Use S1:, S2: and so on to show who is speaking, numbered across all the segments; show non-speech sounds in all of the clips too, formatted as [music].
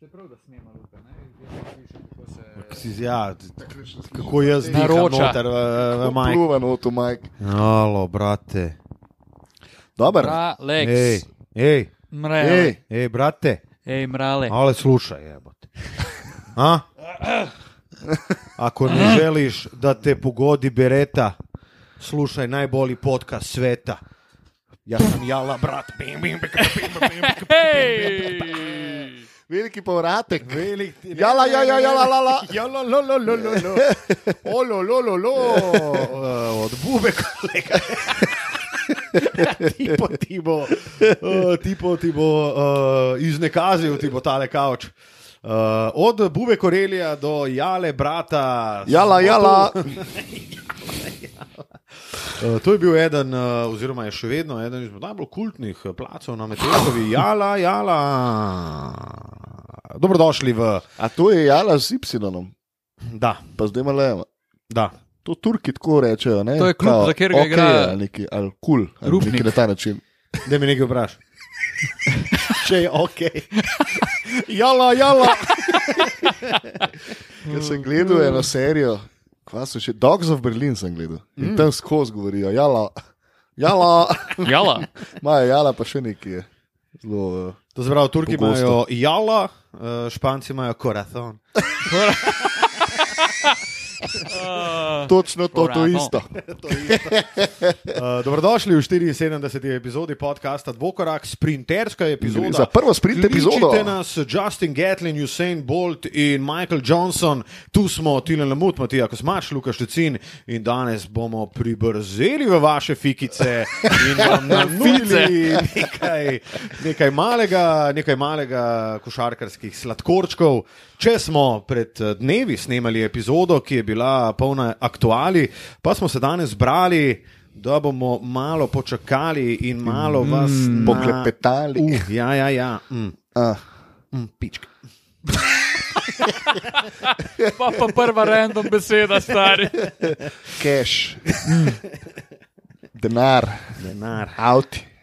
S1: Se pravi, da smemo, Luka, ne? Jaz ne pišem, kako se...
S2: Si z- Ja, t-
S3: Tako še slišim.
S2: kako jaz
S3: Ej,
S2: diham eh,
S4: Naroča.
S2: noter v, v majku.
S3: Pluva noto, Mike.
S2: Alo, brate.
S3: Dobar.
S4: Mralex.
S2: Ej, ej,
S4: Mrale.
S3: Ej,
S2: ej, brate,
S4: Ej, mrale.
S2: ale slušaj, jebote. A? Ako ne želiš da te pogodi bereta, slušaj najbolji podcast sveta. Ja sam jala, brat. Bim, bim, bim, bim, bim, bim, bim.
S4: Ej!
S3: veliki povratek.
S2: Velik ti-
S3: Jala, ja, ja, jala, la, la.
S2: Jala, la, la, la, la,
S3: [laughs]
S2: la.
S3: Olo, lo, lo, lo.
S2: Eh, Od bube, [laughs] kolega. tipo ti bo, eh, tipo ti bo eh, iznekazil, ti bo tale kavč. Eh, od Bube Korelija do Jale, brata.
S3: Jala,
S2: Smotu.
S3: jala.
S2: Eh, to je bil eden, eh, oziroma je še vedno eden izmed najbolj kultnih eh, placov na Metelkovi, Jala, Jala. Dobrodošli v.
S3: A to je jala z Y,
S2: Da,
S3: pa zdaj malo leva.
S2: da.
S3: To Turki tako rečejo. Ne?
S4: To je klub,
S3: Kao,
S4: za katerega
S3: okej
S4: igra-
S3: je, ali neki, ali kul, ali
S4: Rupnik.
S3: neki na ta način.
S2: Da mi nekaj vpraš. Če je ok. jala, jala.
S3: Ker sem gledal eno serijo, kva so še Dogs of Berlin sem gledal. In mm. tam skozi govorijo, jala, jala,
S4: Jala.
S3: maja jala pa še nekje. Zelo. eh,
S2: To se pravi, Turki
S3: Pogosto.
S2: imajo jala, eh, Španci imajo korazon.
S3: eh, Točno to, to
S4: Uradno.
S3: isto.
S2: Eh, Dobrodošli v 74. epizodi podcasta Dvokorak, sprinterska epizoda.
S3: Za prvo sprint epizodo.
S2: Kličite nas Justin Gatlin, Usain Bolt in Michael Johnson. Tu smo Tilen Lamut, Matija Kosmač, Luka Štecin in danes bomo pribrzeli v vaše fikice in vam nudili nekaj, nekaj malega, nekaj malega košarkarskih sladkorčkov. Če smo pred eh, dnevi snemali epizodo, ki je bila polna aktuali, pa smo se danes zbrali. Da bomo malo počakali in malo vas mm,
S3: poklepetali.
S2: Uh, ja, ja, ja. Mm.
S3: Ah,
S2: Mm, pička.
S4: Pa pa prva random beseda, stari.
S3: cash, denar,
S2: Mm. Denar.
S3: avti,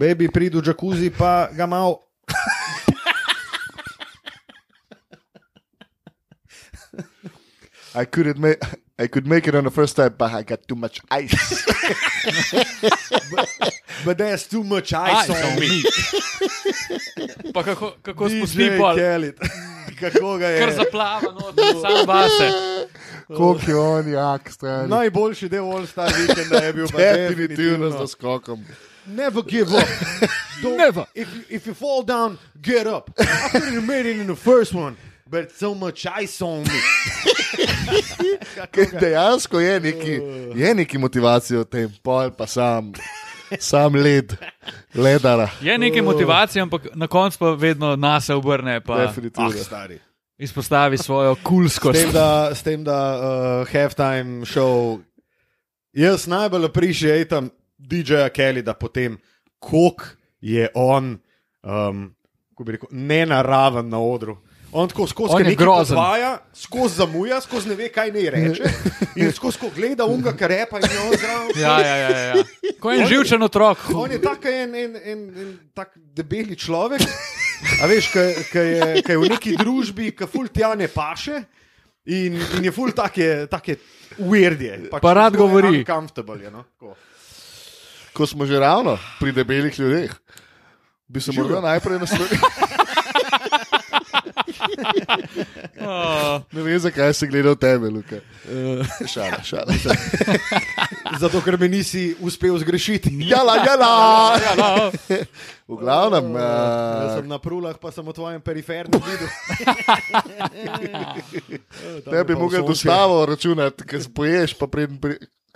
S2: baby, pridi v džakuzi, pa ga malo.
S3: I couldn't make. I could make it on the first time, but I got too much ice. [laughs]
S2: But there's too much
S4: Aj,
S2: ice on me.
S4: Pa kako, kako
S2: DJ
S4: spusti pol,
S2: Khaled. [laughs] Kako ga je?
S4: kar zaplava, no, sam vase.
S3: Koliko je on jak, stran.
S2: Najboljši del All-Star vikenda je bil pa
S3: definitivno z naskokom.
S2: Never give [laughs] up. Don't, Never. If you, if you fall down, get up. I could have made it in the first one, but so much ice on [laughs] me.
S3: Ker Dejansko je neki, je neki motivacija v tem, pol pa sam, sam led, ledara.
S4: Je
S2: Oh.
S4: nekaj motivacije, ampak na koncu pa vedno nas se obrne in
S2: Ah,
S3: Definitivno.
S2: stari.
S4: izpostavi svojo
S2: S
S4: kulskost.
S2: tem, da, s tem, da uh, halftime show, jaz najbolj appreciatam DJ-ja Kellyda potem, koliko je on, um, kako bi rekel, nenaraven na odru. On tako skozi
S4: On je
S2: nekaj
S4: grozen.
S2: podvaja, skozi zamuja, skozi ne ve, kaj naj reče.
S4: [laughs]
S2: In skozi ko gleda unga, kar repa in je on zraven.
S4: Ja, ja, ja, ja. Ko je en živčen otrok,
S2: On je tak en, en, en, en tak debeli človek, a veš, ki je, ka je v neki družbi, ki ful tja ne paše. In, in je ful take, take weird je. Pač
S4: Pa rad
S2: zelo je
S4: govori.
S2: Uncomfortable je. No? tako.
S3: Ko smo že ravno pri debelih ljudeh, bi se morda
S2: Živjo.
S3: najprej [laughs] naslovili.
S4: oh,
S3: Ne vem, zakaj si gledal tebe, Luka. Šala, šala.
S2: Zato, ker me nisi uspel zgrešiti.
S3: Jala, jala.
S4: no,
S3: V glavnem,
S2: Jaz
S3: eh,
S2: sem na prulah, pa sem v tvojem perifernem vidu. Tam
S3: ne
S2: je
S3: bi
S2: pa
S3: mogel
S2: osončje.
S3: dostavo računati, ker spoješ, pa pridem. Pri...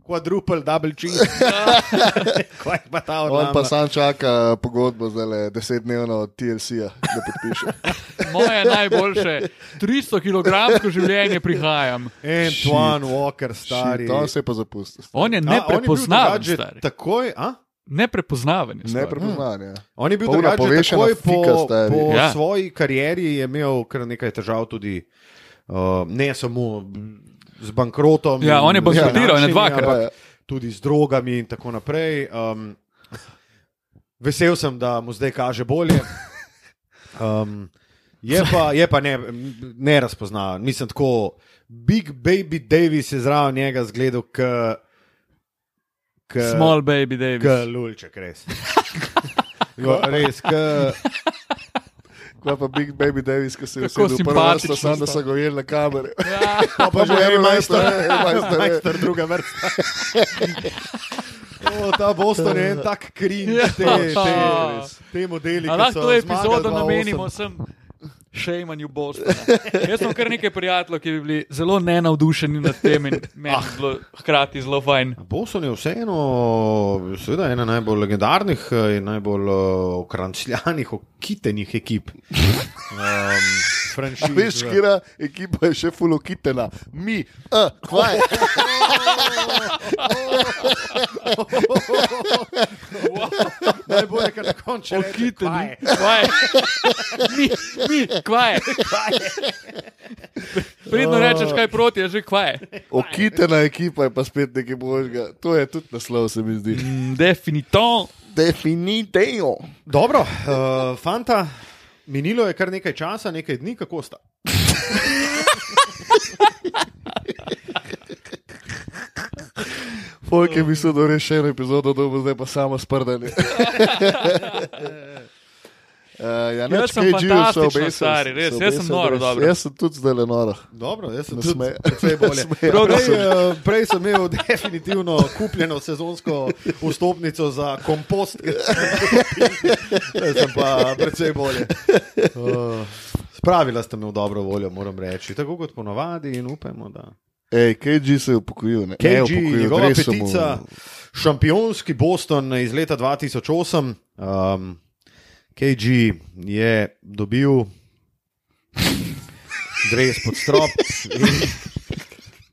S2: quadruple double cheese. Kaj pa ta
S3: On pa
S2: odlama?
S3: sam čaka pogodbo za desetdnevno od TLC-ja, da podpiše.
S4: Moje najboljše 300-kilogramsko življenje prihajam.
S2: Antoine Walker, stari.
S3: Shit, On se je pa zapustil.
S4: On je
S2: A, on je bil
S4: neprepoznaven.
S2: drugače že
S4: stari.
S2: Takoj, a?
S4: Neprepoznaven je.
S3: Ne
S4: stvar.
S3: prepoznanje. Ja.
S2: On je bil
S3: Polna
S2: drugače že
S3: povešena
S2: takoj po,
S3: fika, stari.
S2: po ja.
S4: Ja.
S2: svoji karieri, je imel kar nekaj težav tudi, uh, ne samo z bankrotom.
S4: Ja,
S2: in
S4: on je
S2: z
S4: bankrotiral, ne,
S2: finančnimi,
S4: dvakrat.
S2: ampak Tudi z drogami in tako naprej. Um, vesel sem, da mu zdaj kaže bolje. Um, je, pa, je pa ne, ne razpoznaven. Mislim tako, Big Baby Davis je zraven njega zgledal, k. k
S4: Hmm. Small baby
S2: K
S4: Davis.
S2: lulček,
S4: [laughs]
S2: res. Jo, res, k,
S3: Kva pa Big Baby Davis, ki se je
S4: Kako
S3: usedel v prvo
S4: simpatično
S3: vrsto, sam da so ga ujeli na
S2: [laughs]
S3: kamere.
S4: Ja,
S3: Pa pa že eno mesto,
S2: majster druga vrsta. [laughs] O, ta Boston je en tak krin,
S4: Ja.
S2: te, te, te modeli.
S4: a
S2: ki
S4: lahko
S2: so
S4: to epizodo
S2: zmagali 2008.
S4: namenimo sem. Šejmanju Bostona. Jaz sem kar nekaj prijateljev, ki bi bili zelo nenavdušeni nad tem in meni
S2: Ah.
S4: je bilo hkrati zelo fajn.
S2: Boston je vseeno, seveda, ena najbolj legendarnih eh, in najbolj eh, okrancljanih, okitenih
S3: [laughs]
S2: ekip. Um, franšiz, eh,
S3: Veš, kira ekipa je še fulokitena. Mi, eh, kva je?
S2: najbolj, kar na koncu reče, kaj
S4: Okiteni.
S2: je.
S4: Kvaj. Mi, mi, kvaj. Pridno rečeš kaj proti, je že kvaj.
S3: Okitena ekipa je pa spet nekaj božga. To je tudi naslov, se mi zdi.
S4: Definitivno.
S3: Definiteo.
S2: Dobro, uh, fanta, minilo je kar nekaj časa, nekaj dni, kako sta.
S3: Folk
S4: Oh.
S3: je mislil, da je še eno epizodo dobil, zdaj pa samo
S4: [laughs]
S3: sprdanje. Uh, ja,
S4: Jaz
S3: nič,
S4: sem
S3: KG-ju so
S4: fantastično
S3: obesili-
S4: star, res,
S3: so
S4: jaz sem
S3: obesili,
S4: noro,
S3: da res-
S4: dobro.
S3: Jaz sem tudi zdaj le
S4: [laughs]
S3: noro.
S2: Dobro, jaz sem
S3: [laughs] Ne
S2: tudi
S3: sme-
S2: precej bolje.
S3: Sme-
S2: Prav,
S3: Dobro
S2: prej,
S3: sem.
S2: eh, prej sem imel [laughs] definitivno kupljeno sezonsko vstopnico za kompost, [laughs] ki sem jo kupil. Zdaj sem pa precej bolje. Uh, spravila ste me v dobro voljo, moram reči, tako kot ponavadi in upajmo, da.
S3: Ej, KG se je upokojil, ne? Ne,
S2: KG,
S3: upokojil,
S2: njegova
S3: res so mu-
S2: petica, šampionski Boston iz leta 2008. Um, KG je dobil dreves pod strop. in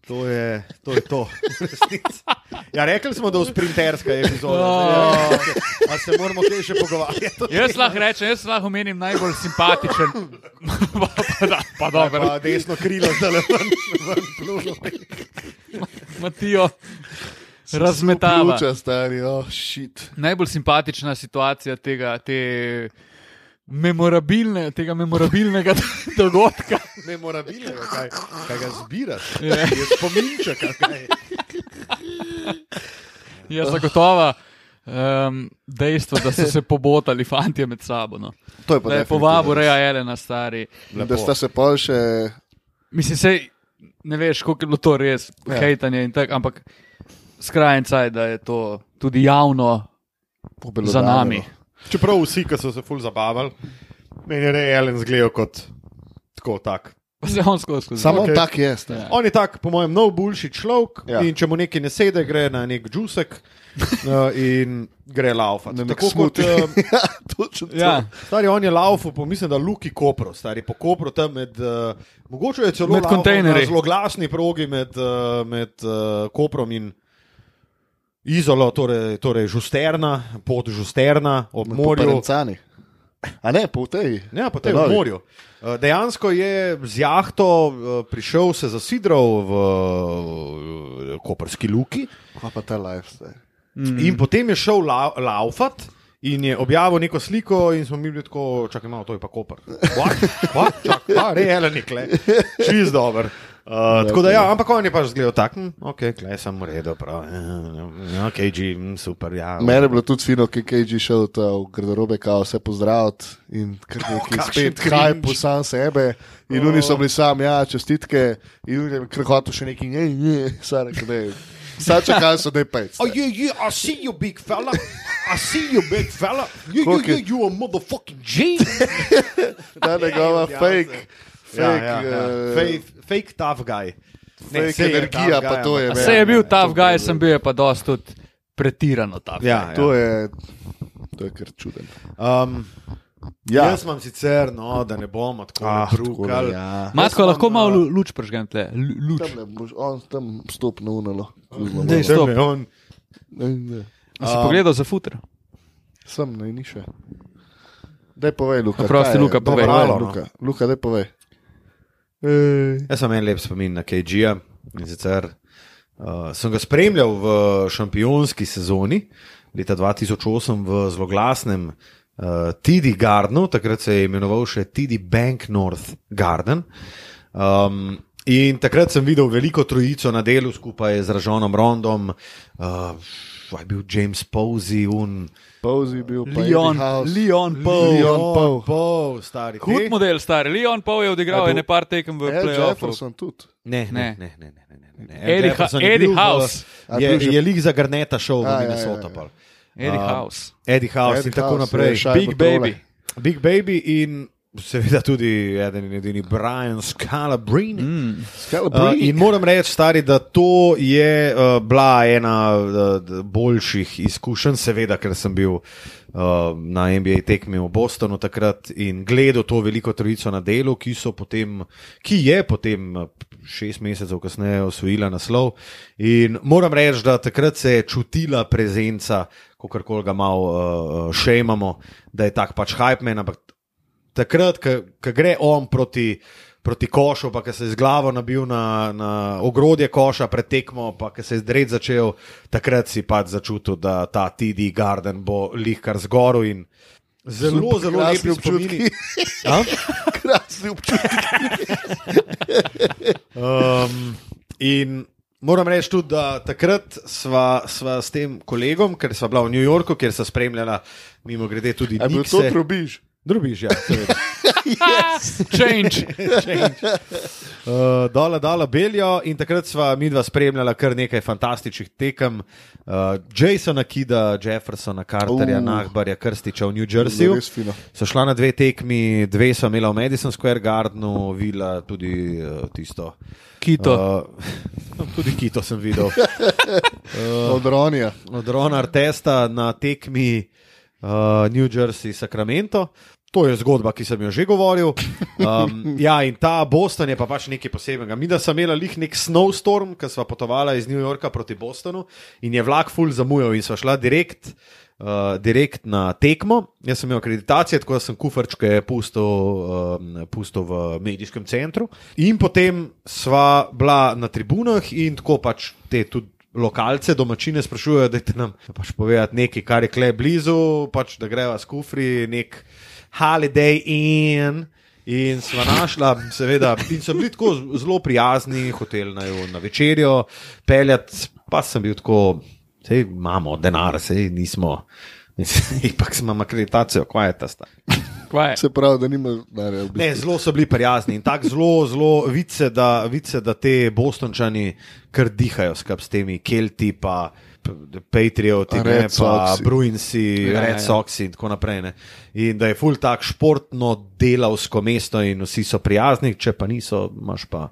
S2: To je to. Je to v resnici. ja, rekli smo, da je sprinterska epizoda.
S4: Ja.
S2: A se moramo kaj še pogovarjati?
S4: Jaz lahko rečem, jaz lahko omenim najbolj simpatičen. pa, pa, da, pa dobro,
S2: Pa desno krilo, da le ven, ven plužo.
S4: Matijo. Razmetava.
S3: Razmetavlja, stari, oh, šit.
S4: Najbolj simpatična situacija tega, te memorabilne, tega memorabilnega [laughs] dogodka.
S2: Memorabilnega, kaj, kaj ga zbiraš.
S4: Ja.
S2: Je spominček, ali kaj.
S4: [laughs] Je Ja, zagotovo um, dejstvo, da so se pobotali fanti med sabo. No.
S3: To je pa
S4: Da je
S3: definitivno
S4: povabil
S3: res.
S4: Reja Elena, stari.
S3: Da sta se pa še.
S4: Mislim, sej, ne veš, koliko je bilo to res, ja. hejtanje in tako, ampak skrajnica je, da je to tudi javno
S3: pobelodanilo.
S4: za nami.
S2: Čeprav vsi, ki so se ful zabavali, meni je realen zgledal kot tako tak.
S4: [laughs] Pa se on skozi skozi.
S3: Samo
S2: Okej.
S3: okay. tak je. stari.
S2: On je tak, po mojem, najboljši človek
S3: Ja.
S2: ja. in če mu nekaj ne sedi, gre na nek džusek uh, in gre laufa.
S3: Na nek
S2: Tako kot
S3: smoothie.
S2: um,
S3: [laughs] ja, točno to.
S4: Ja.
S2: stari on je laufu, pomislim, da Luki Kopro, stari po Kopru tam med, uh, mogoče je celo
S4: Med
S2: laufal na
S4: kontejnerji.
S2: zelo glasni progi med, uh, med uh, Koprom in Izolo, torej, torej Žusterna, pod Žusterna, ob morju.
S3: Morencani. A ne, po tej.
S2: Ne, pa te Ja, v
S3: Talovi.
S2: morju. Eh, Dejansko je z jahto eh, prišel, se zasidral v eh, koperski luki
S3: Kva pa ta lifestyle.
S2: mm.
S3: Mhm.
S2: in potem je šel la, laufat. In je objavil neko sliko, in smo mi bili tako, čakaj, malo, to je pa Koper. Reelen je kle, čist dober. Uh, tako da, ja, ampak on je pač zgledal tak, hm, ok, kle sem v redu, prav, eh, ok, Jim, super, ja.
S3: Mene je bilo tudi fino, ki je KG šel ta v garderobe, kao vse pozdraviti in kar neki
S2: [laughs] kakšen
S3: spet
S2: cringe.
S3: kaj po sam sebe. In oni so bili sam, ja, čestitke, in oni je kar hotel še neki, ne, ne, sare, kaj. Vsa čakala so, da je pec.
S2: Oh, yeah, yeah, I see you, big fella. I see you, big fella. You, you,
S3: Koliko
S2: you,
S3: je-
S2: you a motherfucking G.
S3: Ta njegova fake, fake,
S2: Ja, ja, ja.
S3: eh,
S2: Fake, fake tough guy. Ne,
S3: fake
S2: saj je
S3: energija,
S2: tough
S3: pa
S2: guy,
S3: to je.
S2: ampak-
S3: ne,
S4: Vse je bil
S3: ne,
S4: ta
S3: to-
S4: guy, sem bil je pa dosti tudi pretirano ta.
S2: Ja,
S3: To
S2: ja.
S3: je, to je kar čuden.
S2: Um, ja.
S3: Ja,
S2: Jaz imam sicer, no, da ne bomo tako ah,
S3: takole,
S2: drukali.
S3: ja.
S4: Matko,
S2: Jaz
S4: lahko
S2: imam,
S4: malo
S2: eh,
S4: lu- luč pržgem tle. Lu- Luč.
S3: Tam ne boš, on tam stop na unalo.
S4: Dej,
S2: Če
S4: stop.
S2: me on-
S3: Ne, ne.
S4: A Si pogledal za futer.
S3: Sam ne, ni še. Daj povej, Luka.
S4: Oprosti,
S3: kaj je?
S4: Luka,
S3: Dobro,
S4: povej.
S3: daj,
S2: Malo, no.
S3: Luka, Luka, daj povej.
S2: Jaz sem en lep spomin na KG-ja in sicer uh, sem ga spremljal v šampionski sezoni leta 2008 v zelo glasnem uh, Tidi Gardenu, takrat se je imenoval še Tidi Bank North Garden. Um, in takrat sem videl veliko trojico na delu skupaj z Ražonom Rondom, uh, je bil James Posey, un.
S3: Pauzi bil pa
S4: Leon,
S3: Eddie House.
S4: Leon Paul. Oh.
S3: Leon
S2: Oh.
S3: Paul. Eh?
S2: Paul, stari.
S4: Hud
S2: te-
S4: model, star. Leon Paul je
S3: Ja,
S4: odigral
S3: bil-
S4: ene par tekem v
S3: Al
S4: play-offu.
S3: Jefferson tudi.
S2: Ne, ne,
S4: Ne.
S2: ne. ne, ne, ne, ne, ne.
S4: Eddie
S2: Al Jefferson
S4: Ha-
S2: je
S4: Eddie
S2: bil v-
S4: House.
S3: A
S2: Je,
S3: bil že-
S2: je lik za Garneta šel v
S3: A, ja, ja,
S2: Minnesota.
S3: ja.
S2: pol.
S4: Eddie
S2: Um,
S4: House.
S2: Eddie House
S3: Eddie
S2: in tako
S3: House,
S2: naprej.
S3: ja, šajbo
S4: Big Baby.
S3: dole.
S2: Big Baby in seveda tudi eden in edini Brian Scalabrini. Mm. Uh,
S3: Scalabrini.
S2: in moram reči, stari, da to je uh, bila ena uh, d- boljših izkušenj, seveda, ker sem bil uh, na NBA tekmi v Bostonu takrat in gledal to veliko trojico na delu, ki, so potem, ki je potem uh, šest mesecev kasneje osvojila naslov. In moram reči, da takrat se je čutila prezenca, kako koli ga malo uh, šejmamo, da je tak pač hype men, ampak takrat, ko gre on proti, proti košu, pa ko se je z glavo nabil na, na ogrodje koša pred tekmo, pa ko se je zdred začel, takrat si pač začutil, da ta TD Garden bo lihkar zgoril in zelo, zelo lepi
S3: Krasni
S2: občutki. [laughs]
S3: občutki. Krasni občutki.
S2: Um, in moram reči tudi, da takrat sva, sva s tem kolegom, ker sva bila v New Yorku, kjer sva spremljala, mimo grede tudi
S3: A bil to
S2: Nikse.
S3: trubiš?
S2: Drubiž, ja, seveda.
S4: Change.
S3: [laughs]
S2: Uh, dala, dala beljo in takrat sva mi dva spremljala kar nekaj fantastičnih tekem. Uh, Jasona Kida, Jeffersona, Carterja, uh.
S3: Uh.
S2: Nahbarja, Krstiča v New Jerseyju.
S3: Res fino.
S2: So šla na dve tekmi, dve sva imela v Madison Square Gardenu, vila tudi uh, tisto.
S4: Kito.
S2: Uh, [laughs] tudi Kito sem
S3: [laughs]
S2: videl. Eh, Uh.
S3: Od Ronija.
S2: Od Rona No, Artesta na tekmi uh, New Jersey Sacramento. To je zgodba, ki sem jo že govoril. Um, ja, in ta Boston je pa pač nekaj posebnega. Mi, da smo imeli lih nek snowstorm, ki smo potovali iz New Yorka proti Bostonu in je vlak full zamujal in smo šla direkt, uh, direkt na tekmo. Jaz sem imel akreditacije, tako da sem kufrčke pustil, um, pustil v medijskem centru. In potem sva bila na tribunah in tako pač te tudi lokalce, domačine sprašujejo, da ti nam pač povedati nekaj, kar je kle blizu, pač, da greva s kufri, nek holiday in. In sva našla, seveda, in so bili tako z- zelo prijazni, hotel naj jo na večerjo peljati, pa sem bil tako, sej imamo denar, sej nismo, [laughs] ampak imamo akreditacijo, kva je ta sta.
S4: Kvaj.
S3: Se pravi, da nima denarja. v
S2: Ne,
S3: bistvu.
S2: zelo so bili prijazni in tako zelo, zelo vice, da, vice, da te bostončani kar dihajo skup s temi Kelti, pa p- Patrioti,
S3: A
S2: ne,
S3: Red
S2: pa
S3: Soxi.
S2: Bruinsi,
S4: Ja,
S2: ja,
S4: ja,
S2: Red
S4: ja.
S2: Soxi in tako naprej. Ne. In da je full tak športno delavsko mesto in vsi so prijazni, če pa niso, imaš pa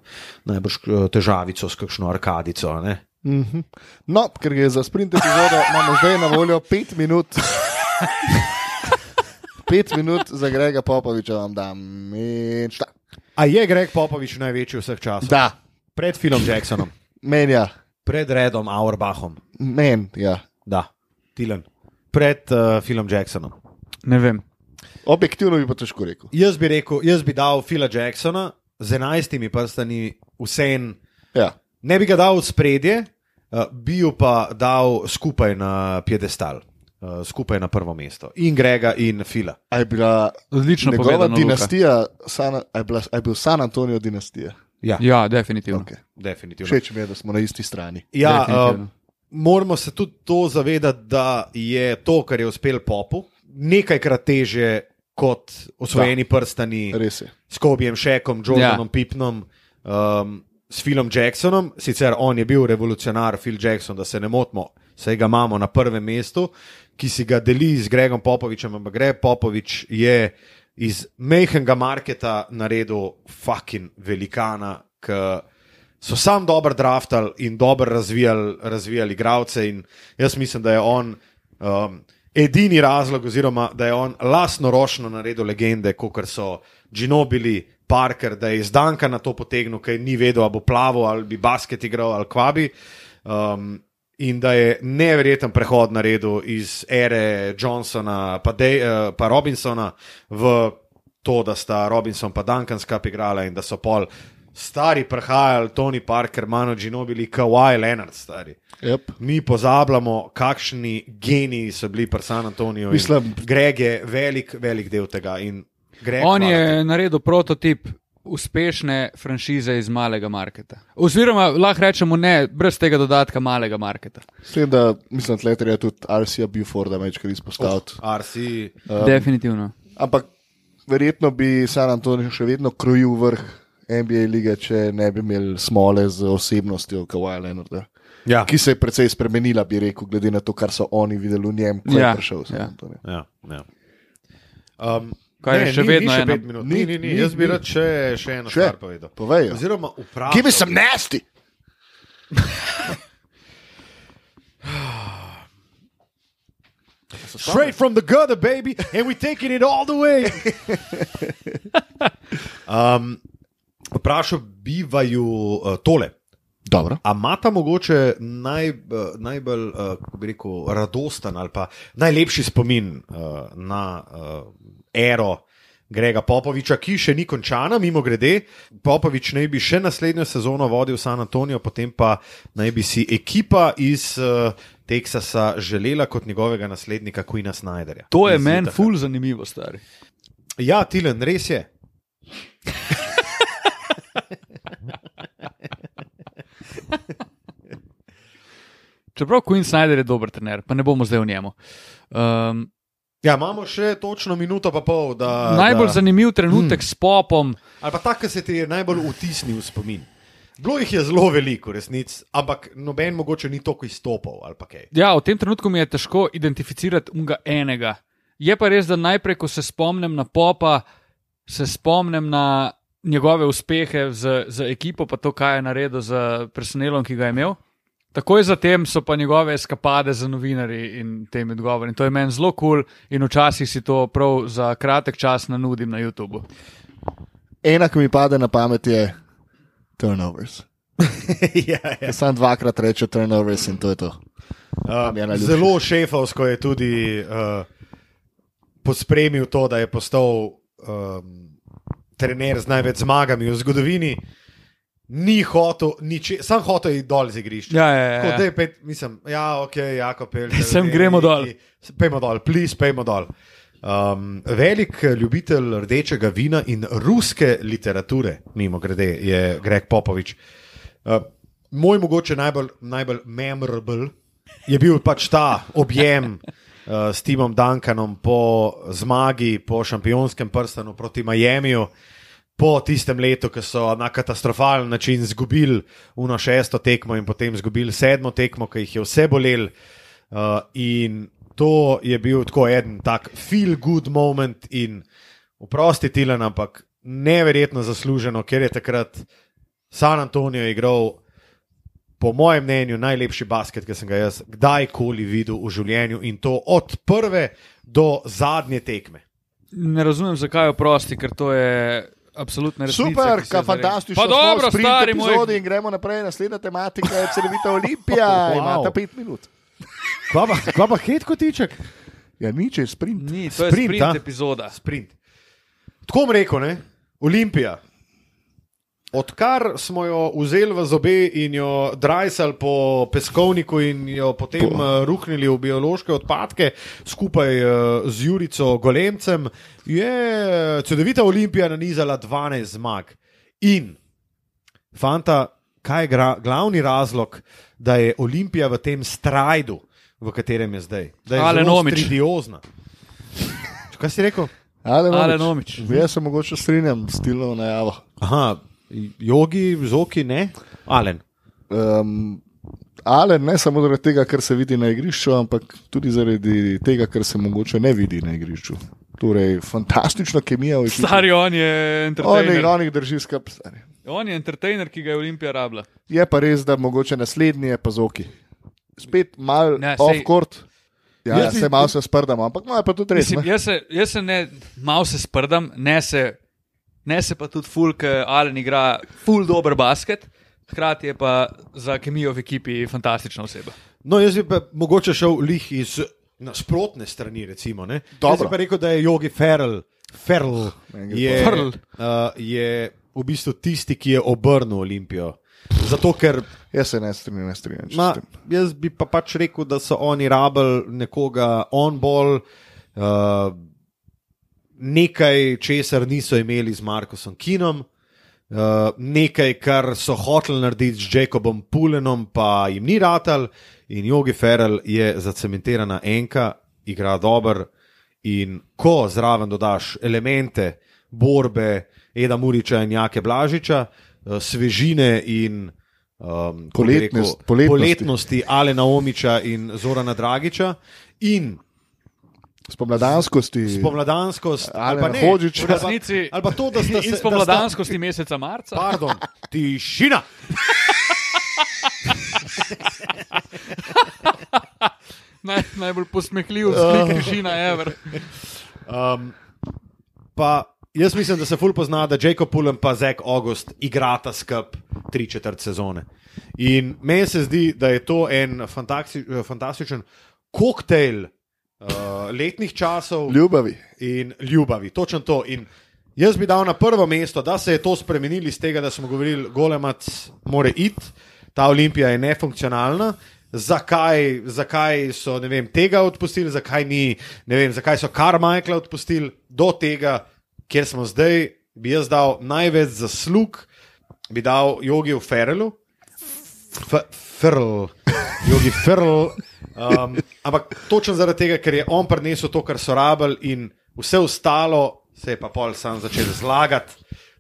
S2: najbrž eh, težavico s kakšno arkadico. Ne.
S3: Mhm. No, ker je za sprint epizodo, imamo zdaj na voljo 5 minut. 5 minut za Grega Popoviča vam dam. In šta?
S2: A je Greg Popovič največji vseh časov?
S3: Da,
S2: Pred Philom Jacksonom,
S3: menja,
S2: pred Redom Auerbachom,
S3: men, ja.
S2: da, Tilen, pred uh, Philom Jacksonom.
S4: Ne vem.
S3: Objektivno bi pa težko rekel.
S2: Jaz bi rekel, jaz bi dal Fila Jacksona z enajstimi prstani, vse en.
S3: Ja.
S2: Ne bi ga dal v spredje, eh, bi jo pa dal skupaj na piedestal, eh, skupaj na prvo mesto. In Grega in Fila.
S3: A je bila
S4: Odlično
S3: njegova
S4: povedano. Luka.
S3: dinastija, San, a je, bila, a je bil San Antonijo dinastija?
S2: Ja,
S4: Ja, definitivno.
S3: Okay.
S2: definitivno.
S3: Všeč mi je, da smo na isti strani.
S2: Ja,
S4: definitivno.
S2: eh, moramo se tudi to zavedati, da je to, kar je uspel Popu, nekajkrat teže kot osvojeni prstani.
S3: Res je.
S2: s Kobijem Šekom, Jordanom ja. Pipnom. Um, s Philom Jacksonom, sicer on je bil revolucionar, Phil Jackson, da se ne motimo, saj ga imamo na prvem mestu, ki si ga deli z Gregom Popovičem, ampak Greg Popovič je iz mehkega marketa naredil fucking velikana, ki so sam dobro draftali in dobro razvijali, razvijali igralce. in Jaz mislim, da je on um, edini razlog, oziroma da je on lastno ročno naredil legende, kot so Džinobili, Parker, da je iz Danka na to potegnil, ker ni vedel, ali bo plaval, ali bi basket igral, ali kvabi. Um, In da je neverjeten prehod naredil iz ere Johnsona, pa, De, eh, pa Robinsona, v to, da sta Robinson in Duncan skup igrala in da so pol stari prihajali, Tony Parker, Mano Ginobili, Kawhi Leonard stari.
S3: Yep.
S2: Mi pozabljamo, kakšni geniji so bili pri San Antoniju. in
S3: Mislim-
S2: Greg je velik, velik del tega. in Greg,
S4: On
S2: hvala
S4: je naredil prototip uspešne franšize iz malega marketa. Oziroma, lahko rečemo ne, brez tega dodatka malega marketa.
S3: Mislim, da mislim, da je tudi RCA Buforda večkrat izpostavil.
S2: ti. RC,
S4: Um, Definitivno.
S3: Ampak verjetno bi San Antonijo še vedno krojil vrh NBA lige, če ne bi imeli smole z osebnostjo Kawaja Leonarda.
S2: ja.
S3: Ki se je precej spremenila, bi rekel, glede na to, kar so oni videli v njem, ko
S4: Ja,
S3: je prišel. v San
S4: ja.
S3: Antonijo.
S2: Ja, ja. Um,
S4: Kaj je še
S2: ni,
S4: vedno
S2: ni še
S4: ena-
S2: pet minut? Ni, ni, ni, jaz bi rad še, še eno
S3: Še?
S2: stvar povedal.
S3: Povej jo.
S2: Oziroma, vprašal.
S3: Give me some nasty!
S2: Straight from the gutter, baby, and we're taking it all the way. [laughs] um, vprašal bi vaju uh, tole.
S3: Dobro.
S2: A imata mogoče naj, uh, najbolj, uh, kako bi rekel, radosten ali pa najlepši spomin uh, na uh, ero Grega Popoviča, ki še ni končana, mimo grede. Popovič naj bi še naslednjo sezono vodil San Antonijo, potem pa naj bi si ekipa iz uh, Teksasa želela kot njegovega naslednika Queena Snyderja.
S4: To je
S2: Iz
S4: meni
S2: Utaha.
S4: ful zanimivo, stari.
S2: Ja, Tilen, res
S4: [laughs]
S2: je.
S4: Čeprav Queen Snyder je dober trener, pa ne bomo zdaj o njemu. Um,
S2: Ja, imamo še točno minuto pa pol. Da,
S4: najbolj
S2: da...
S4: zanimiv trenutek mm. s popom,
S2: Ali pa ta, ki se ti je najbolj vtisnil v spomin. Bilo jih je zelo veliko, resnic, ampak noben mogoče ni toliko izstopal ali pa kaj.
S4: Ja, v tem trenutku mi je težko identificirati unga enega. Je pa res, da najprej, ko se spomnim na popa, se spomnim na njegove uspehe z, z ekipo, pa to, kaj je naredil z personelom, ki ga je imel. Takoj zatem so pa njegove eskapade za novinarji in tem odgovori. In to je meni zelo kul cool in včasih si to prav za kratek čas nanudim na YouTubu.
S3: Ena, ki mi pade na pamet, je turnovers.
S2: [laughs] ja, ja.
S3: Sam dvakrat reče turnovers in to je to. je
S2: Uh,
S3: najljubši.
S2: zelo šefovsko je tudi uh, pospremil to, da je postal um, trener z največ zmagami v zgodovini. Ni hotel, niče, sam hotel je dol z igrišča.
S4: Ja, ja, ja.
S2: Tako, daj, pet, mislim, ja, ok, jako pelje.
S4: Sem gremo dol.
S2: Pejmo dol, plis, pejmo dol. Um, velik ljubitelj rdečega vina in ruske literature, mimo grede, je Greg Popovič. Uh, moj mogoče najbolj, najbolj memorable je bil pač ta objem. uh, S Timom Duncanom po zmagi, po šampionskem prstanu proti Miamiju, po tistem letu, ko so na katastrofalen način izgubili uno šesto tekmo in potem izgubili sedmo tekmo, ki jih je vse bolel. Uh, in to je bil tako en tak feel good moment in oprosti Tilan, ampak neverjetno zasluženo, ker je takrat San Antonijo igral. Po mojem mnenju, najlepši basket, ki sem ga jaz kdajkoli videl v življenju, in to od prve do zadnje tekme.
S4: Ne razumem, zakaj je oprosti, ker to je absolutno resnica.
S3: Super,
S4: ki se
S3: ka
S4: je zdaj-
S3: fantastično.
S4: Pa dobro, stari moj.
S3: epizodi in gremo naprej. Naslednja tematika je celovita Olimpija.
S2: [laughs] Wow.
S3: wow. Imate pet minut.
S2: Kva pa, kva pa hit kotiček?
S3: Ja, nič je sprint.
S4: Ni, to je
S2: Sprint,
S4: sprint,
S2: a?
S4: sprint epizoda.
S2: Sprint. Tako bom rekel, ne? Olimpija. Odkar smo jo vzeli v zobe in jo drajsali po peskovniku in jo potem po. ruhnili v biološke odpadke skupaj eh, z Jurico Golemcem, je čudovita Olimpija nanizala 12 zmag. In, fanta, kaj je gra, glavni razlog, da je Olimpija v tem strajdu, v katerem je zdaj? Da je
S4: Alen
S2: zelo
S4: Omić.
S2: [laughs] tridiozna. Kaj si rekel?
S3: Alen
S4: Alen Omić.
S3: Jaz se mogoče strinjam s stilno najavo.
S2: Aha, Jogi, zoki, ne, alen.
S3: Um, ali ne samo zaradi tega, kar se vidi na igrišču, ampak tudi zaradi tega, kar se mogoče ne vidi na igrišču. Torej, fantastična kemija v ekipi.
S4: Stari on je
S3: Oni,
S4: entertainer.
S3: oni jih drži skrb. stari.
S4: On je entertainer, ki ga je Olimpija rabila.
S3: Je pa res, da mogoče naslednji je pa zoki. Spet malo
S4: Ne, sej-
S3: off-court. Ja, ja,
S2: Jaz bi-
S3: se malo se sprdamo, ampak malo je pa tudi res.
S4: Mislim,
S3: ne.
S4: jaz se, jaz se ne, malo se sprdam, ne se, ne se pa tudi ful, ker Alen igra ful dober basket, hkrati je pa za kemijo v ekipi fantastična oseba.
S2: No, jaz bi pa mogoče šel lih iz nasprotne strani. Recimo, ne. jaz
S3: Dobro. Ah,
S2: bi pa rekel, da je Jogi Ferrell, Ferrell
S3: Meni gre
S2: je,
S4: Ferrell.
S2: uh, je v bistvu tisti, ki je obrnil Olimpijo. Zato, ker
S3: Jaz se ne strinjam, ne strinjam.
S2: ma,
S3: Ma...
S2: jaz bi pa pač rekel, da so oni rabili nekoga on-ball, uh, nekaj, česar niso imeli z Markom Kinom. Uh, nekaj, kar so hoteli narediti z Jacobom Pulenom, pa jim ni ratal, in Jogi Ferrell je zacementirana enka, igra dober. In ko zraven dodaš elemente borbe Eda Muriča in Jake Blažiča, uh, svežine in um, kako bi rekel,
S3: Poletnost- poletnosti.
S2: poletnosti Alena Omiča in Zorana Dragiča, in
S3: Spomladanskosti.
S2: spomladanskost, ali pa
S3: Alena
S2: ne,
S3: Hodžić.
S4: V
S2: ali pa-
S4: resnici,
S2: ali pa to, da ste
S4: in spomladanskosti meseca marca,
S2: Pardon, tišina.
S4: naj, najbolj posmehljiv vzklik Žina Ever.
S2: Um, pa jaz mislim, da se ful pozna, da Jacob Pullen in Zek August igrata skup tri četrt sezone. In meni se zdi, da je to en fantaksi, fantastičen koktejl uh, letnih časov
S3: Ljubavi.
S2: in ljubavi. Točno to. In jaz bi dal na prvo mesto, da se je to spremenili iz tega, da smo govorili, golemac more iti, ta olimpija je nefunkcionalna. Zakaj, zakaj so ne vem, tega odpustili, zakaj, ni, ne vem, zakaj so Carmichaela odpustili do tega, kjer smo zdaj, bi jaz dal največ zaslug, bi dal jogi v Ferelu, F- Ferl, jogi Ferl. Um, ampak točno zaradi tega, ker je on prinesel to, kar so rabili, in vse ostalo se je pa pol sam začel zlagati.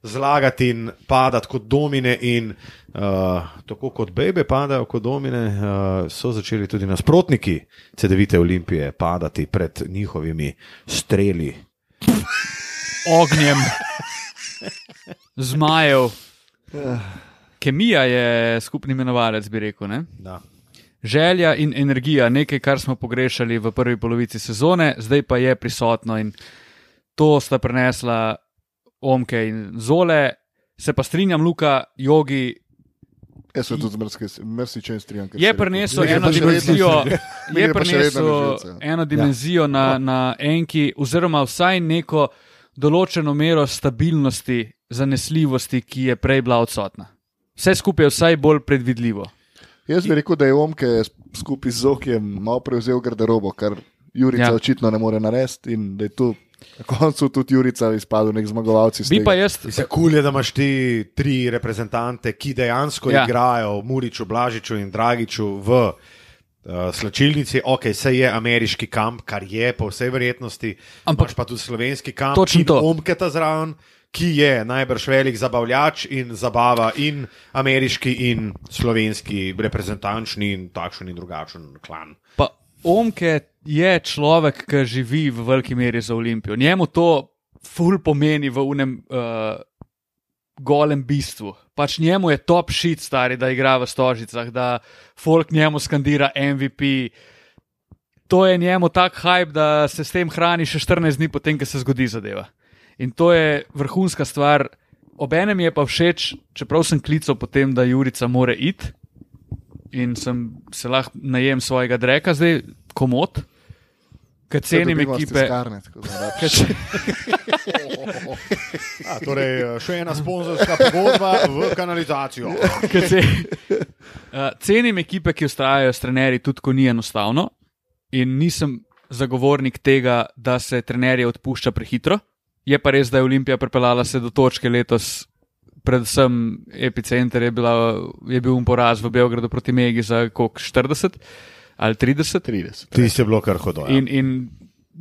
S2: Zlagati in padati kot domine, in uh, tako kot bebe padajo kot domine, uh, so začeli tudi nasprotniki CD-vite olimpije padati pred njihovimi streli.
S4: Ognjem, zmajev.
S2: Eh.
S4: Kemija je skupni imenovalec, bi rekel. Ne?
S2: Da.
S4: Želja in energija, nekaj, kar smo pogrešali v prvi polovici sezone, zdaj pa je prisotno in to sta prenesla Omke in Zole. Se pa strinjam, Luka, jogi
S3: Jaz se tudi z mrsičem strinjam. kar si
S4: je
S3: rekel.
S4: prinesel
S3: Meni gre
S4: eno
S3: pa še vedno- [laughs]
S4: dimenzijo,
S3: Meni
S4: je
S3: gre pa še vedno
S4: prinesel
S3: na živce. Ja.
S4: eno dimenzijo na, na enki, oziroma vsaj neko določeno mero stabilnosti, zanesljivosti, ki je prej bila odsotna. Vse skupaj je vsaj bolj predvidljivo.
S3: Jaz bi rekel, da je Omke skupaj z Zokijem malo prevzel garderobo, kar
S4: Ja.
S3: Jurica ja. očitno ne more narediti in da je tu na koncu tudi Jurica izpadel nek zmagovalci.
S4: Bi pa jaz
S2: Se kul je, da imaš ti tri reprezentante, ki dejansko
S4: Ja.
S2: ja. igrajo v Muriču, Blažiču in Dragiču v uh, slačilnici. Ok, se je ameriški kamp, kar je po vsej verjetnosti,
S4: Ampak-
S2: ampak
S3: pač
S2: pa tudi slovenski kamp,
S4: Točno
S2: in
S4: to.
S2: omketa zraven, ki je najbrž velik zabavljač in zabava in ameriški in slovenski reprezentančni in takšen in drugačen klan.
S4: Pa Omke je človek, ki živi v veliki meri za Olimpijo. Njemu to ful pomeni v unem uh, golem bistvu. Pač njemu je top shit, stari, da igra v stožicah, da folk njemu skandira MVP. To je njemu tak hype, da se s tem hrani še 14 dni, potem, ko se zgodi zadeva. In to je vrhunska stvar. Obenem je pa všeč, čeprav sem klical potem, da Jurica more iti in sem se lahko najem svojega dreka, zdaj komod, ker cenim ekipe.
S3: Skarne, tako da rad.
S4: Ker ce-
S2: A, torej, še ena sponzorska pogodba v kanalizacijo.
S4: [laughs] Ker ce- Uh, Cenim ekipe, ki ustrajajo s trenerji, tudi ko ni enostavno. In nisem zagovornik tega, da se trenerje odpušča prehitro. Je pa res, da je Olimpija pripeljala se do točke letos, predvsem epicenter je, bila, je bil poraz v Beogradu proti Megi za koliko 40 ali 30.
S3: 30.
S2: Ti si bilo kar hodo. ja.
S4: In, in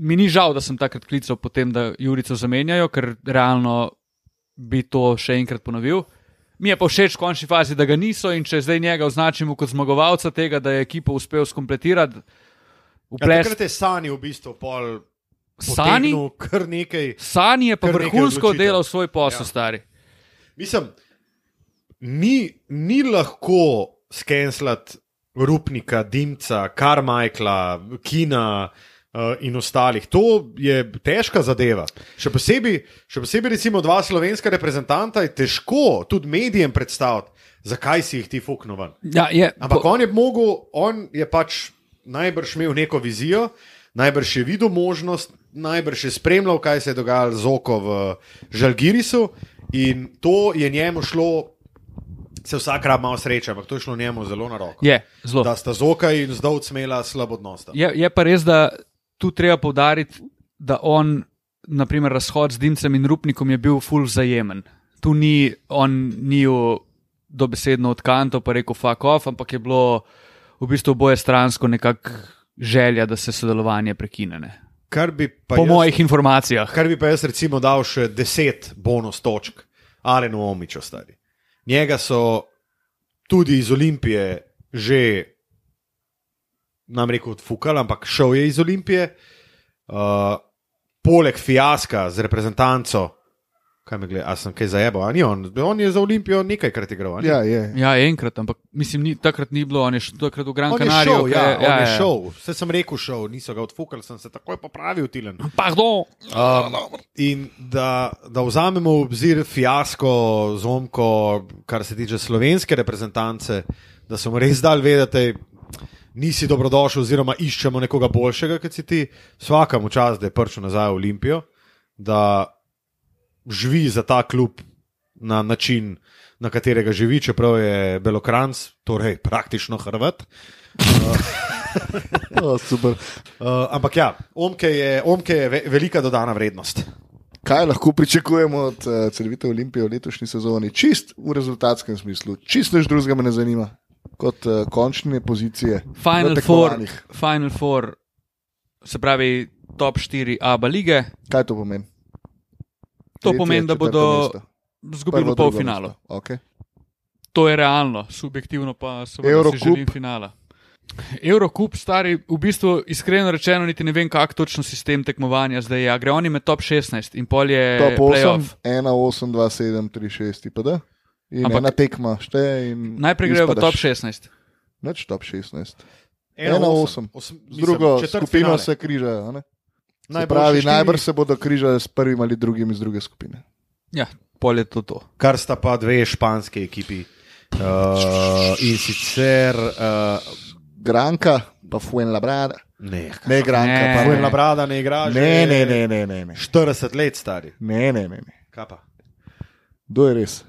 S4: mi ni žal, da sem takrat klical po tem, da Jurico zamenjajo, ker realno bi to še enkrat ponovil. Mi je pa všeč v končni fazi, da ga niso in če zdaj njega označimo kot zmagovalca tega, da je ekipo uspel skompletirati,
S2: Ja,
S4: vplesti
S2: takrat je Sani v bistvu pol.
S4: Sani.
S2: potegnil Kar nekaj.
S4: Sani je pa
S2: Kar nekaj
S4: vrhunsko
S2: odločitev.
S4: delal svoj posel,
S2: Ja.
S4: ja. stari.
S2: Mislim, ni, ni lahko skenslati Rupnika, Dimca, Karmajkla, Kina uh, in ostalih. To je težka zadeva. Še posebej, še posebej recimo dva slovenska reprezentanta je težko tudi medijem predstaviti, zakaj si jih ti fuknovan.
S4: Ja, je,
S2: Ampak
S4: po-
S2: on je mogel, on je pač najbrž imel neko vizijo, najbrž je videl možnost, najbrž je spremljal, kaj se je dogajalo z oko v Žalgirisu in to je njemu šlo. Se vsak rab malo sreče, ampak to je šlo njemu zelo na roko.
S4: je zelo.
S2: Da sta zoka in zdaj odsmela slabo odnos.
S4: Je, je pa res, da tu treba povdariti, da on, naprimer, razhod z Dimcem in Rupnikom je bil full vzajemen. Tu ni, on ni jo dobesedno odkanto, pa rekel fuck off, ampak je bilo v bistvu oboje stransko nekako želja, da se sodelovanje prekine. Ne?
S2: Kar bi pa
S4: Po
S2: jaz-
S4: mojih informacijah.
S2: Kar bi pa jaz recimo dal še 10 bonus točk, ali no omičo stari. Njega so tudi iz Olimpije že, nam rekel, odfukali, ampak šel je iz Olimpije. Uh, poleg fiaska z reprezentanco, kaj me gleda, a sem kaj zajebal, a ni on, on je za Olimpijo nekajkrat igral. a ni?
S3: Ja, je.
S4: Ja, enkrat, ampak mislim, ni, takrat ni bilo, on je šel takrat v Gran
S2: On je
S4: Canaria.
S2: šel, ja, ja, on je šel. Vse sem rekel, šel, niso ga odfukali, sem se takoj popravil, Tilen.
S4: Pardon.
S2: Um, in da, da vzamemo v obzir fiasko, zomko, kar se tiče slovenske reprezentance, da smo res dal vedeti, nisi dobrodošel, oziroma iščemo nekoga boljšega, kot si ti. Vsakemu čas, da je prišel nazaj v Olimpijo, da živi za ta klub na način, na katerega živi, čeprav je Belokranc, torej praktično Hrvat.
S4: Ja.
S3: O, super.
S2: Uh, ampak ja, omke je, omke je ve, velika dodana vrednost.
S3: Kaj lahko pričakujemo od uh, celovite Olimpije v letošnji sezoni? Čist v rezultatskem smislu, čist nič drugega me ne zanima. Kot uh, končne pozicije. na
S4: Final Four,
S3: tekmovanjih.
S4: Final Four, se pravi top 4 ABA lige,
S3: Kaj to pomeni?
S4: to
S3: Tretje,
S4: pomeni, da
S3: četrto
S4: bodo
S3: mesto.
S4: izgubili
S3: Prvo,
S4: v
S3: drugo
S4: polfinalu.
S3: mesto. Okay.
S4: To je realno, subjektivno pa seveda si
S3: Eurocup.
S4: želim finala. Eurocup, stari, v bistvu iskreno rečeno, niti ne vem, kak točno sistem tekmovanja zdaj je. A Gre oni med top 16 in pol je Eh,
S3: Top 8,
S4: playoff.
S3: 1, 8, 2, 7, 3, 6, pa da.
S4: Ampak-
S3: In Ampak, ena tekma šteje. in
S4: Najprej grejo v
S3: izpadaš.
S4: top 16.
S3: Nič top 16.
S2: Ena
S3: Ena
S2: osem.
S3: osem.
S2: Osem-
S3: Z
S2: mislim,
S3: drugo
S2: četrt
S3: skupino
S2: finale.
S3: se križajo. a ne? Se
S2: Najboljše
S3: Pravi,
S2: štiri,
S3: najbrž se bodo križali s prvim ali drugim iz druge skupine.
S4: Ja, pol je to to.
S2: Kar sta pa dve španske ekipi. Uh, in sicer uh,
S3: Granka, pa Fuenlabrada.
S2: ne,
S3: Ne, Granka,
S4: Ne.
S3: ne. pa
S2: Fuenla Brada ne igra.
S3: Ne,
S2: že
S3: ne, ne, ne, ne, ne.
S2: 40 let stari.
S3: Ne, ne, ne. ne.
S2: Kaj pa?
S3: Kdo je res?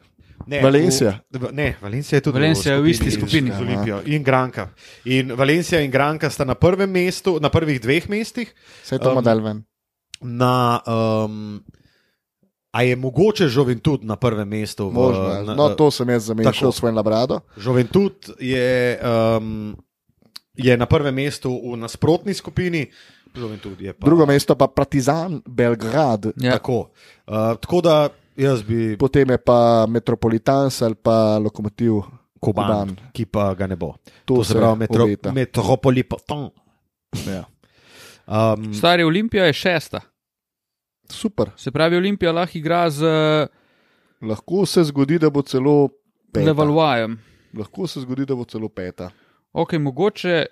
S2: Ne,
S3: Valencija.
S2: V, v- ne, Valencija je tudi
S4: Valencija je v isti skupini.
S2: z Olimpijo in Granka. In Valencija in Granka sta na prvem mestu, na prvih dveh mestih.
S3: Vse to
S2: Um,
S3: bomo um, dal ven.
S2: Na, um, a je mogoče Žoventud na prvem mestu? v-
S3: Možno. ja.
S2: na-
S3: No, to sem jaz
S2: tako.
S3: zamenjal s Fuenlabrado.
S2: Žoventud je, um, je na prvem mestu v nasprotni skupini, Žoventud je pa
S3: Drugo mesto pa Partizan, Belgrad.
S4: Ja.
S2: Tako. Uh, tako da jaz bi
S3: Potem je pa Metropolitans ali pa Lokomotiv.
S2: Kuban,
S3: Kuban.
S2: ki pa ga ne bo.
S3: To
S2: to se
S3: se
S2: pravi metro,
S3: obeta.
S2: metropolitan.
S3: Ja.
S2: Um,
S4: Stari Olimpija je šesta.
S3: Super.
S4: Se pravi, Olimpija lahko igra z eh,
S3: Lahko se zgodi, da bo celo peta.
S4: Levalvajem.
S3: Lahko se zgodi, da bo celo peta.
S4: Ok, mogoče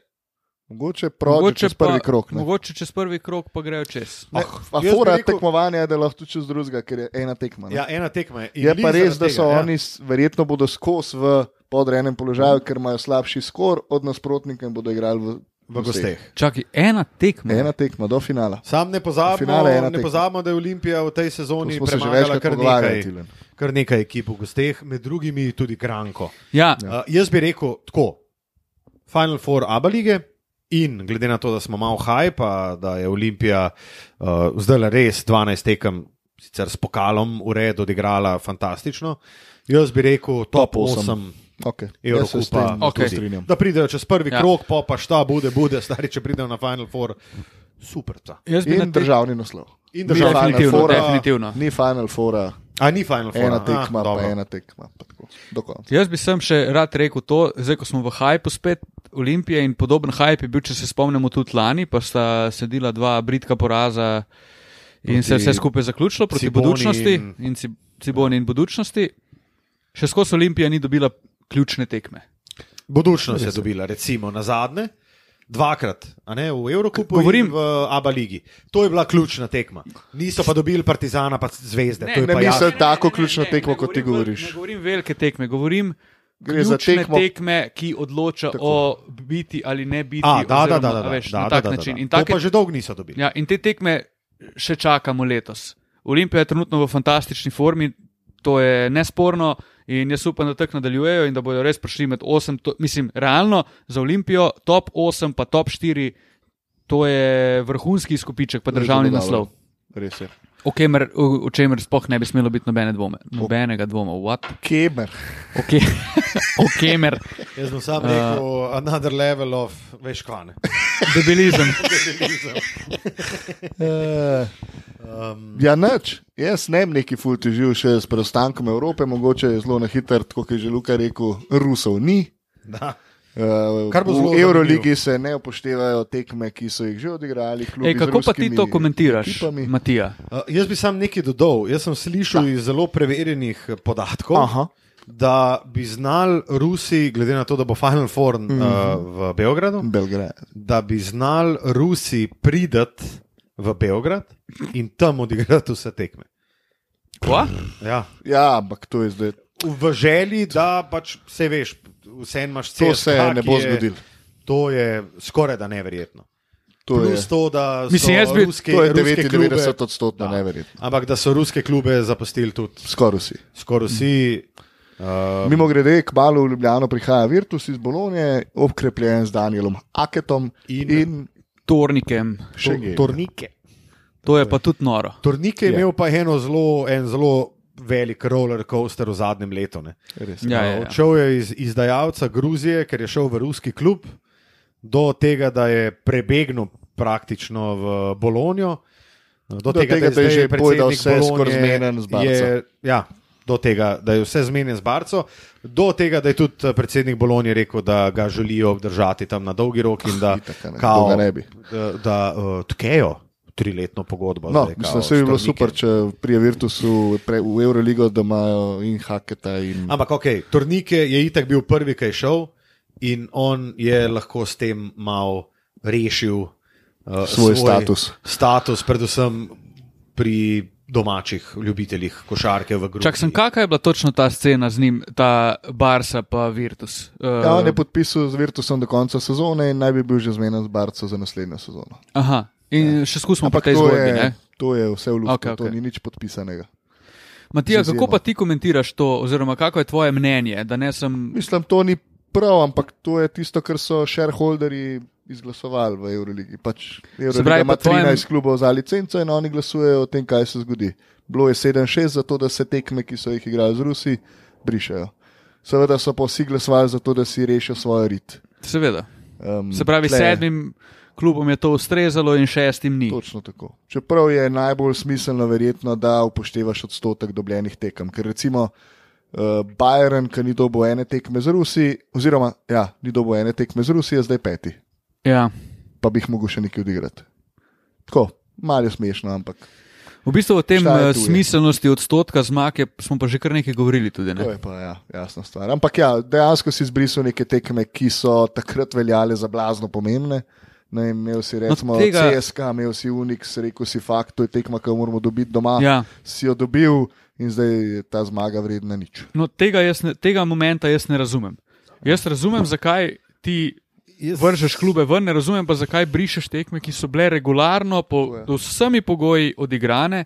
S3: Mogoče proti čez
S4: pa,
S3: prvi krok. ne.
S4: Mogoče čez prvi krok pa grejo čez.
S3: Ne,
S2: Ah,
S3: a
S2: jaz bi
S3: fora
S2: rekel-
S3: rekel... tekmovanja je, da lahko tudi čez drugega, ker je ena tekma. ne.
S2: ja, ena tekma je. In
S3: je
S2: glih
S3: pa res,
S2: zaradi
S3: da so
S2: tega, ja.
S3: tega, oni, s- verjetno bodo skozi v podrejenem položaju, ker imajo slabši skor od nasprotnika in bodo igrali v,
S2: v gosteh. Ja.
S4: Čakaj, ena tekma.
S3: Ena tekma do finala.
S2: Sam ne pozabimo,
S3: Finale je ena
S2: ne
S3: tekma.
S2: pozabimo, da je Olimpija v tej
S3: To
S2: sezoni
S3: smo se že
S2: premagala
S3: večkrat
S2: kar
S3: pogovarjali.
S2: nekaj,
S3: Tilen.
S2: kar nekaj ekip v gosteh, med drugimi tudi Kranko.
S4: Ja,
S2: Uh, jaz bi rekel tako. Final Four Abba lige in glede na to, da smo malo haj, pa da je Olimpija uh, zdaj le res 12 tekem, sicer s pokalom, v redu odigrala fantastično. Jaz bi reel top
S3: Top osem.
S2: 8.
S3: Okay. Jaz se
S2: Evrokupa.
S3: s tem
S4: Okej.
S3: okay. strinjam.
S2: Da pridejo čez prvi
S4: Ja.
S2: ja. krok, pa pa šta bude, bude, stari, če pridejo na Final Four. Super. Ta.
S4: jaz bi na
S3: In
S4: te-
S3: državni naslov.
S2: In
S3: Ni
S2: državna
S3: Final
S4: Definitivno,
S2: fora.
S4: definitivno.
S3: Ni Final Fora,
S2: A ni Final Four.
S3: ena tekma, pa
S2: Ah, dobro.
S3: ena tekma. Pa tako, do konca.
S4: Jaz bi sem še rad rekel to, zdaj ko smo v hajpu spet, Olimpije in podoben hajp je bil, če se spomnimo, tudi lani, pa sta sledila dva britka poraza in se je vse skupaj zaključilo proti
S2: Ciboni
S4: budučnosti
S2: in-
S4: in Ci- Ciboni in budučnosti. Še skozi Olimpija ni dobila ključne tekme.
S2: Budučnost je dobila, recimo na zadnje. Dvakrat, a ne v Evropi,
S4: Govorim-
S2: govorim v Abu Leiji. To je bila ključna tekma. Niso pa dobili Partizana, pa zvezde. Ja, to je
S3: ne
S2: pa
S3: mislim-
S2: jasno.
S3: tako ključno tekmo, kot ti
S4: govorim vel-
S3: govoriš.
S4: Ne govorim velike tekme, govorim
S3: Gre za
S4: ključne
S3: tekmo-
S4: tekme, ki odloča Tako. o biti ali ne biti.
S2: A, da, da, da,
S4: oziroma,
S2: da,
S4: a
S2: da,
S4: veš,
S2: da,
S4: na
S2: da,
S4: tak
S2: da, da,
S4: način. In
S2: da. To
S4: take-
S2: pa že dolgo niso dobili.
S4: Ja, in te tekme še čakamo letos. Olimpija je trenutno v fantastični formi, to je nesporno. In jaz upam, da tako nadaljujejo in da bodo res prišli med 8, to, mislim, realno za Olimpijo, top 8, pa top 4, to je vrhunski izkupiček, pa državni
S3: Zelo dobro.
S4: naslov.
S3: Res je.
S4: O, kemer, o, o čemer sploh ne bi smelo biti nobene dvome, nobenega dvoma. What?
S2: [laughs]
S3: Kemer.
S4: Okay.
S3: [laughs]
S4: o kemer,
S2: Jaz sem sam rekel,
S4: Eh.
S2: uh, another level of veš kvane. [laughs]
S4: debilizem.
S2: Eh,
S3: Uh,
S2: Um,
S3: ja, nič. Jaz ne bi neki ful težil še s preostankom Evrope, mogoče je zelo na hiter, tako kot je že Luka rekel, Rusov ni. Uh,
S2: Kar bo zelo
S3: v
S2: zanimivo.
S3: Euroligi se ne upoštevajo tekme, ki so jih že odigrali. klubi
S4: Ej,
S3: z
S4: kako pa ti
S3: ruskimi
S4: to komentiraš,
S3: ekipami.
S4: Matija?
S2: Uh, jaz bi sam nekaj dodal. Jaz sem slišal da. iz zelo preverjenih eh, podatkov,
S3: Aha.
S2: da bi znali Rusi, glede na to, da bo Final Four
S4: Mhm.
S2: mm -hmm. uh, v Beogradu,
S3: Belgrad.
S2: da bi znali Rusi priti v Beograd in tam odigrati vse tekme.
S4: Kva?
S2: Ja.
S3: Ja, ampak to je zdaj.
S2: V želji, da pač vse veš, vse imaš
S3: To
S2: CSKA,
S3: se ne
S2: ki
S3: bo
S2: je-
S3: zgodilo.
S2: To je skoraj da neverjetno.
S3: To je,
S2: Plus to, da so
S4: Mislim, jaz bi-
S2: ruske,
S3: to je
S2: ruske klube,
S3: 99 odstotkov, neverjetno.
S2: ampak da so ruske klube zapustili tudi
S3: Skoraj vsi.
S2: skoraj vsi.
S3: Mm.
S2: Uh,
S3: Mimo grede, k malu v Ljubljano prihaja Virtus iz Bolonije, okrepljen z Danielom Aketom in,
S2: In-
S3: in
S4: Tornikem.
S3: še Gamer.
S2: tornike.
S4: To je pa tudi noro.
S2: Tornike je
S3: Ja.
S2: imel pa eno zelo, en zelo velik roller coaster v zadnjem letu. Ne.
S3: Res.
S4: Ja, ja, ja.
S2: Odšel je iz izdajalca Gruzije, ker je šel v ruski klub, do tega, da je prebegnil praktično v Bolonijo. no, Do,
S3: Do tega, da je
S2: zdaj
S3: že povedal
S2: predsednik
S3: vse skoraj
S2: Bolonje,
S3: zmenjen z Barco.
S2: je- Ja, do tega, da je vse zmenjen z Barco, do tega, da je tudi eh, predsednik Bolonije rekel, da ga želijo obdržati tam na dolgi rok in da
S3: Ah, Itak, a ne,
S2: kao,
S3: kdo ga ne bi.
S2: da, da uh, tkejo triletno pogodbo.
S3: No,
S2: zdaj, kao,
S3: mislim, da bi bilo
S2: s Tornikem.
S3: super, če pri Virtusu, pre, v Euroligo, da imajo in Haketa in
S2: Ampak ok, Tornike je itak bil prvi, ki je šel in on je lahko s tem mal rešil uh,
S3: Svoj status.
S2: Status, predvsem pri domačih ljubiteljih košarke v Gruziji.
S4: Čak sem, kakšna je bila točno ta scena z njim, ta Barca pa Virtus? Uh,
S3: Ja, on je podpisal z Virtusom do konca sezone in naj bi bil že zmenjen z Barco za naslednjo sezono.
S4: aha, in še skusimo po
S3: Ja. Ampak
S4: tej
S3: to
S4: zgodbi.
S3: je,
S4: ne?
S3: to je vse v luftu,
S4: Okej,
S3: okay, okay. to
S4: okej.
S3: ni nič podpisanega.
S4: Matija,
S3: z
S4: kako
S3: izjemo.
S4: pa ti komentiraš to, oziroma kako je tvoje mnenje, da ne sem.
S3: Mislim, to ni prav, ampak to je tisto, kar so shareholderji izglasovali v Euroligi. Pač
S4: pravi,
S3: Euroliga pravi, ima
S4: po tvojem-
S3: 13 klubov za licenco in oni glasujejo o tem, kaj se zgodi. Bilo je 7-6, zato da se tekme, ki so jih igrali z Rusi, brišajo. Seveda so pa vsi glasovali za to, da si rešijo svoj rit.
S4: Seveda.
S3: Um,
S4: Se pravi,
S3: tle-
S4: sedmim klubom je to ustrezalo in šestim ni.
S3: Točno tako. Čeprav je najbolj smiselno, verjetno, da upoštevaš odstotek dobljenih tekem. Ker recimo uh, Bayern, ki ni dobil ene tekme z Rusi, oziroma ja, ni dobil ene tekme z Rusi, je zdaj peti,
S4: Ja.
S3: pa bi jih mogel še nekaj odigrati. Tako, malo je smešno, ampak
S4: V bistvu o tem
S3: Šta je
S4: eh,
S3: tu, je?
S4: smiselnosti odstotka zmag je, smo pa že kar nekaj govorili. Tudi,
S3: to
S4: ne?
S3: je pa ja, jasna stvar. Ampak ja, dejansko si izbrisal neke tekme, ki so takrat veljale za blazno pomembne. Ne, vem, imel si recimo no, tega...
S4: tega-
S3: CSK, imel si Unix, rekel si fakt, to je tekma, ki jo moramo dobiti doma.
S4: Ja.
S3: si jo dobil in zdaj je ta zmaga vredna nič.
S4: No, tega, jaz ne, tega momenta jaz ne razumem. Jaz razumem, zakaj ti
S2: Jaz-
S4: vržeš klube ven, ne razumem pa, zakaj brišeš tekme, ki so bile regularno, po, do vsemi pogoji odigrane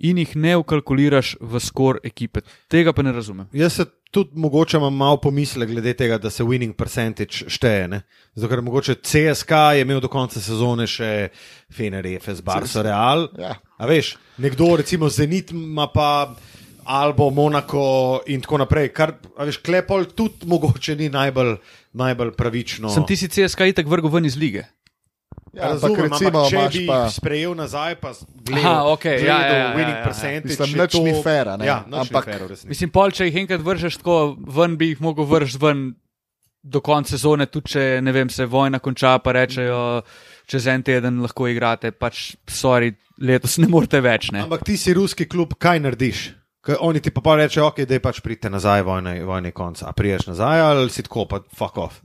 S4: in jih ne ukalkuliraš v skor ekipe. Tega pa ne razumem.
S2: Jaz se tudi mogoče imam malo pomisle glede tega, da se winning percentage šteje. Ne? Zato, ker mogoče CSK je imel do konca sezone še Fener, FS, Barca, Real.
S3: Ja.
S2: A veš, nekdo, recimo Zenit, ima pa Albo, Monako in tako naprej. Kar, a veš, klepol tudi mogoče ni najbolj, najbolj pravično.
S4: Sem ti si CSK itek vrgel ven iz lige.
S3: Ja,
S2: Razumem,
S3: ampak recimo,
S2: ampak če
S3: imaš
S2: bi jih
S3: pa-
S2: sprejel nazaj, pa gledal,
S4: Aha, okej, ja,
S2: gledal
S4: ja, ja,
S2: winning
S4: ja, ja.
S2: percentage,
S3: Mislim,
S2: je
S3: nič
S2: to-
S3: ni fair, a ne?
S2: Ja, ampak,
S3: Ampak-
S2: fair, v resnici.
S4: Mislim, pol, če jih enkrat vržeš tako ven, bi jih mogel vržeti ven do konca sezone, tudi če ne vem, se vojna konča, pa rečejo, čez en teden lahko igrate, pač, sorry, letos ne morete več. Ne?
S2: ampak ti si ruski klub, kaj narediš? Kaj oni ti pa, pa rečejo, ok, da pač pridite nazaj, vojne, vojne konca. A priješ nazaj ali si tako, pa fuck off.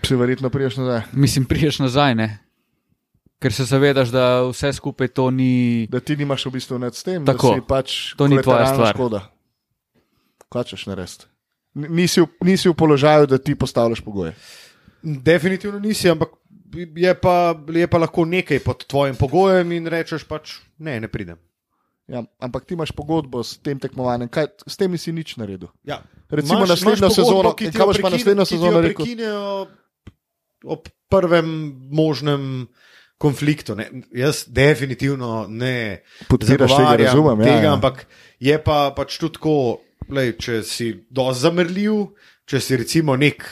S3: Se verjetno priješ nazaj.
S4: Mislim, priješ nazaj, ne? ker se zavedaš, da vse skupaj to ni.
S3: Da ti nimaš v bistvu nad tem,
S4: Tako.
S3: da si pač
S4: To ni tvoja
S3: kolateralna
S4: stvar.
S3: škoda. Kaj češ narediti? N- Nisi, v- nisi v položaju, da ti postavljaš pogoje.
S2: Definitivno nisi, ampak je pa, je pa lahko nekaj pod tvojim pogojem in rečeš pač ne, ne pridem.
S3: Ja, ampak ti imaš pogodbo s tem tekmovanjem, kaj, s tem nisi nič naredil.
S2: Ja.
S3: Recimo naslednjo sezono,
S2: ki ti
S3: kaj
S2: jo
S3: boš pa
S2: prekin-
S3: naslednjo
S2: ki ti jo
S3: sezono rekel?
S2: Prekinejo ob prvem možnem konfliktu. Ne. Jaz definitivno ne
S3: Podpiraš tega,
S2: zagovarjam
S3: razumem, ja,
S2: tega,
S3: ja.
S2: ampak je pa pač tudi tako, lej, če si dosti zamrljiv, če si recimo nek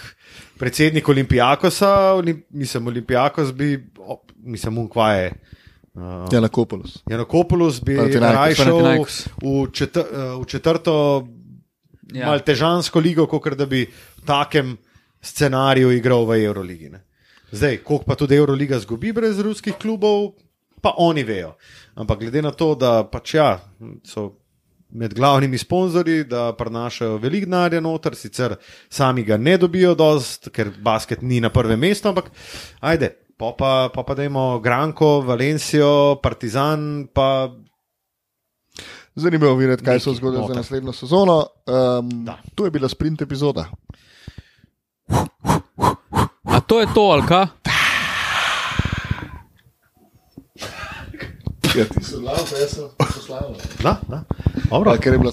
S2: predsednik Olimpijakosa, olim, mislim, Olimpijakos bi, o, mislim, unkvaje. Uh,
S3: Ja, na Kopolus.
S2: Janokopoulos bi
S3: Panathinaikos.
S2: raje šel
S4: Panathinaikos.
S2: v, četr, v četrto, ja.
S4: Ja.
S2: malo težansko ligo, kot da bi v takem scenariju igral v Euroligi. Ne? Zdaj, koliko pa tudi Euroliga zgubi brez ruskih klubov, pa oni vejo. Ampak glede na to, da pač ja, so med glavnimi sponzorji, da prenašajo veliko denarja noter, sicer sami ga ne dobijo dost, ker basket ni na prvem mestu, ampak ajde, pa pa, pa, pa dajmo Granko, Valencijo, Partizan, pa
S3: Zanimivo je videti, kaj se
S2: Nekaj
S3: zgodi za
S2: noter.
S3: naslednjo sezono. Um,
S2: Da.
S3: to je bila sprint epizoda.
S4: A to je to, Alka?
S3: Ja, ti si lav, jaz sem poslavljen.
S2: da, da. Dobro,
S3: Ker je bila